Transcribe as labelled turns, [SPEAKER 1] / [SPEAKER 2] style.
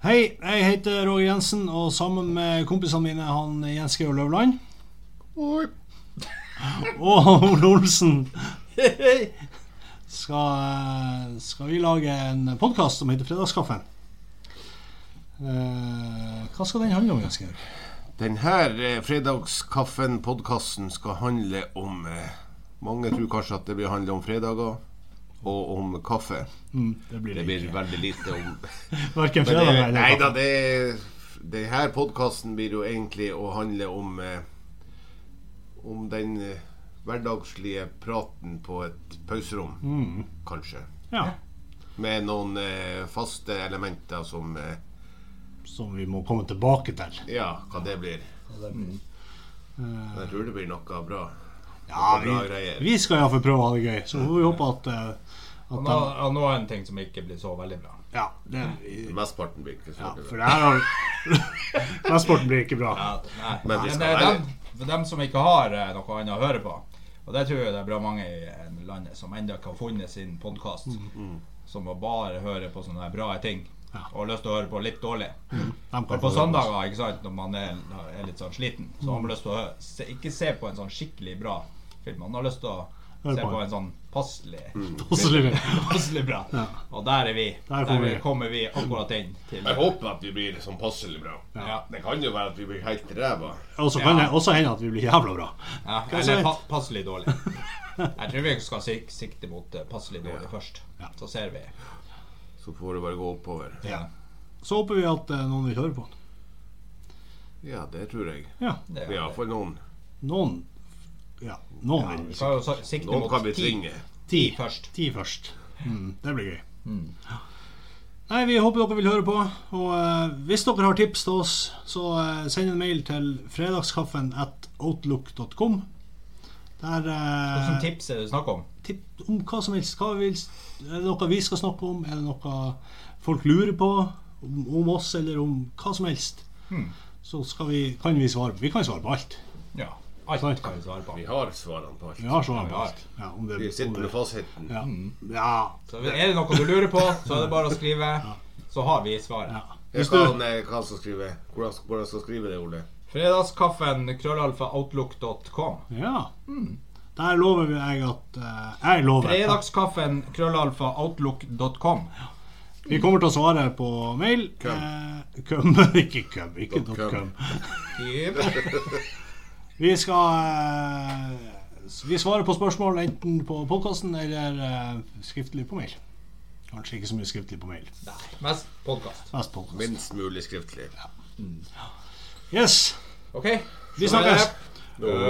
[SPEAKER 1] Hei, jeg heter Roger Jensen, og sammen med kompisene mine han Jens Georg Løvland og Ole Olsen skal, skal vi lage en podkast som heter Fredagskaffen. Eh, hva skal den handle om, Jens Georg?
[SPEAKER 2] Denne fredagskaffen-podkasten eh, skal handle om eh, Mange tror kanskje at det blir handle om fredager og om kaffe.
[SPEAKER 1] Mm, Det blir
[SPEAKER 2] Det blir veldig lite om
[SPEAKER 1] Verken
[SPEAKER 2] Men
[SPEAKER 1] fredag
[SPEAKER 2] det,
[SPEAKER 1] eller
[SPEAKER 2] Nei da, det Denne podkasten blir jo egentlig å handle om eh, Om den eh, hverdagslige praten på et pauserom, kanskje.
[SPEAKER 1] Ja,
[SPEAKER 2] Med noen eh, faste elementer som eh,
[SPEAKER 1] som vi må komme tilbake til.
[SPEAKER 2] Ja, hva det blir. Men jeg tror det blir noe bra.
[SPEAKER 1] Eh. Ja,
[SPEAKER 2] bra
[SPEAKER 1] vi,
[SPEAKER 2] greier.
[SPEAKER 1] vi skal iallfall prøve å ha det gøy. Så får vi håpe at, eh,
[SPEAKER 3] Og
[SPEAKER 1] at
[SPEAKER 3] nå,
[SPEAKER 1] de,
[SPEAKER 3] og nå er en ting som ikke blir så veldig bra.
[SPEAKER 1] Ja, det,
[SPEAKER 2] Mesteparten blir ikke så
[SPEAKER 1] ja,
[SPEAKER 2] bra.
[SPEAKER 1] for det her har Vestsporten blir ikke bra.
[SPEAKER 3] nei.
[SPEAKER 2] Men
[SPEAKER 3] Men,
[SPEAKER 2] vi skal
[SPEAKER 3] det er
[SPEAKER 2] være-
[SPEAKER 3] dem, for dem som ikke har eh, noe annet å høre på. Og det tror jeg det er bra mange i eh, landet som ennå ikke har funnet sin podkast. Som må bare høre på sånne bra ting.
[SPEAKER 1] Ja.
[SPEAKER 3] Og har lyst til å høre på litt dårlig.
[SPEAKER 1] De kan få
[SPEAKER 3] For på
[SPEAKER 1] det.
[SPEAKER 3] søndager, ikke sant, når man er, er litt sånn sliten, så har man lyst til å hø- se, ikke se på en sånn skikkelig bra film. Man har lyst til å
[SPEAKER 1] Hør
[SPEAKER 3] se
[SPEAKER 1] på
[SPEAKER 3] på
[SPEAKER 1] den.
[SPEAKER 3] en sånn passelig,
[SPEAKER 1] Mm. Positive.
[SPEAKER 3] passelig bra. Og der er vi.
[SPEAKER 1] Der
[SPEAKER 3] Der,
[SPEAKER 1] får vi.
[SPEAKER 3] kommer vi akkurat inn til
[SPEAKER 2] Jeg håper at vi blir sånn passelig bra.
[SPEAKER 3] ja.
[SPEAKER 2] Det kan jo være at vi blir helt ræva.
[SPEAKER 1] Og så kan
[SPEAKER 3] Ja.
[SPEAKER 1] det også hende at vi blir jævla bra.
[SPEAKER 3] Ja,
[SPEAKER 1] Hva
[SPEAKER 3] eller
[SPEAKER 1] sier-
[SPEAKER 3] pa passelig dårlig. Jeg tror vi skal sik sikte mot eh, passelig dårlig først. Så ser vi.
[SPEAKER 2] Så får det bare gå oppover.
[SPEAKER 3] Ja.
[SPEAKER 1] Så håper vi at eh, noen vil høre på den.
[SPEAKER 2] Ja, det tror jeg.
[SPEAKER 1] Ja,
[SPEAKER 3] Det,
[SPEAKER 2] Vi har iallfall noen.
[SPEAKER 1] noen Ja, noen
[SPEAKER 3] vi
[SPEAKER 1] vil.
[SPEAKER 3] skal jo sa- sikte
[SPEAKER 2] Noen
[SPEAKER 3] mot
[SPEAKER 2] kan vi
[SPEAKER 3] ti.
[SPEAKER 2] tvinge.
[SPEAKER 1] Ti
[SPEAKER 3] først.
[SPEAKER 1] Ti først. Mm, det blir gøy. Nei, Vi håper dere vil høre på. Og eh, hvis dere har tips til oss, så eh, send en mail til fredagskaffen at outlook.com. Der eh,
[SPEAKER 3] Hvilke tips er det snakk om?
[SPEAKER 1] tipp om hva som helst. Hva vil, er det noe vi skal snakke om? Er det noe folk lurer på om, om oss, eller om hva som helst?
[SPEAKER 3] Hmm.
[SPEAKER 1] Så skal vi, kan vi svare på Vi kan svare på alt.
[SPEAKER 3] Ja, alt
[SPEAKER 1] Sant.
[SPEAKER 3] kan vi svare på.
[SPEAKER 2] Vi har svarene på alt.
[SPEAKER 1] Vi har svar på
[SPEAKER 3] Ja, Hmm.
[SPEAKER 1] alt. Ja, om det,
[SPEAKER 2] Vi
[SPEAKER 1] om
[SPEAKER 2] sitter med
[SPEAKER 1] det,
[SPEAKER 2] fasiten.
[SPEAKER 1] ja. ja.
[SPEAKER 3] Så er det noe du lurer på, så er det bare å skrive. Så har vi svaret.
[SPEAKER 2] Jeg
[SPEAKER 1] Hvis du,
[SPEAKER 2] kan, eh, hva skal skrive? Hvordan skal, hvordan skal skrive det, Ole?
[SPEAKER 3] Fredagskaffen krøllalfa outlook.com.
[SPEAKER 1] ja.
[SPEAKER 3] Hmm.
[SPEAKER 1] Der lover vi- jeg at eh, Jeg lover. at
[SPEAKER 3] Fredagskaffen krøllalfa outlook.com.
[SPEAKER 1] Vi kommer til å svare på mail. Eh, Køm. ikke køm. Ikke
[SPEAKER 2] Dot
[SPEAKER 1] dot
[SPEAKER 2] com.
[SPEAKER 1] .com.
[SPEAKER 3] Skriv.
[SPEAKER 1] Vi skal eh, s- Vi svarer på spørsmål enten på podkasten eller eh, skriftlig på mail. Kanskje ikke så mye skriftlig på mail.
[SPEAKER 3] Nei, Mest podkast.
[SPEAKER 1] Mest podcast.
[SPEAKER 2] Minst mulig skriftlig.
[SPEAKER 1] Yes.
[SPEAKER 3] OK?
[SPEAKER 1] Vi snakkes.
[SPEAKER 3] Nå.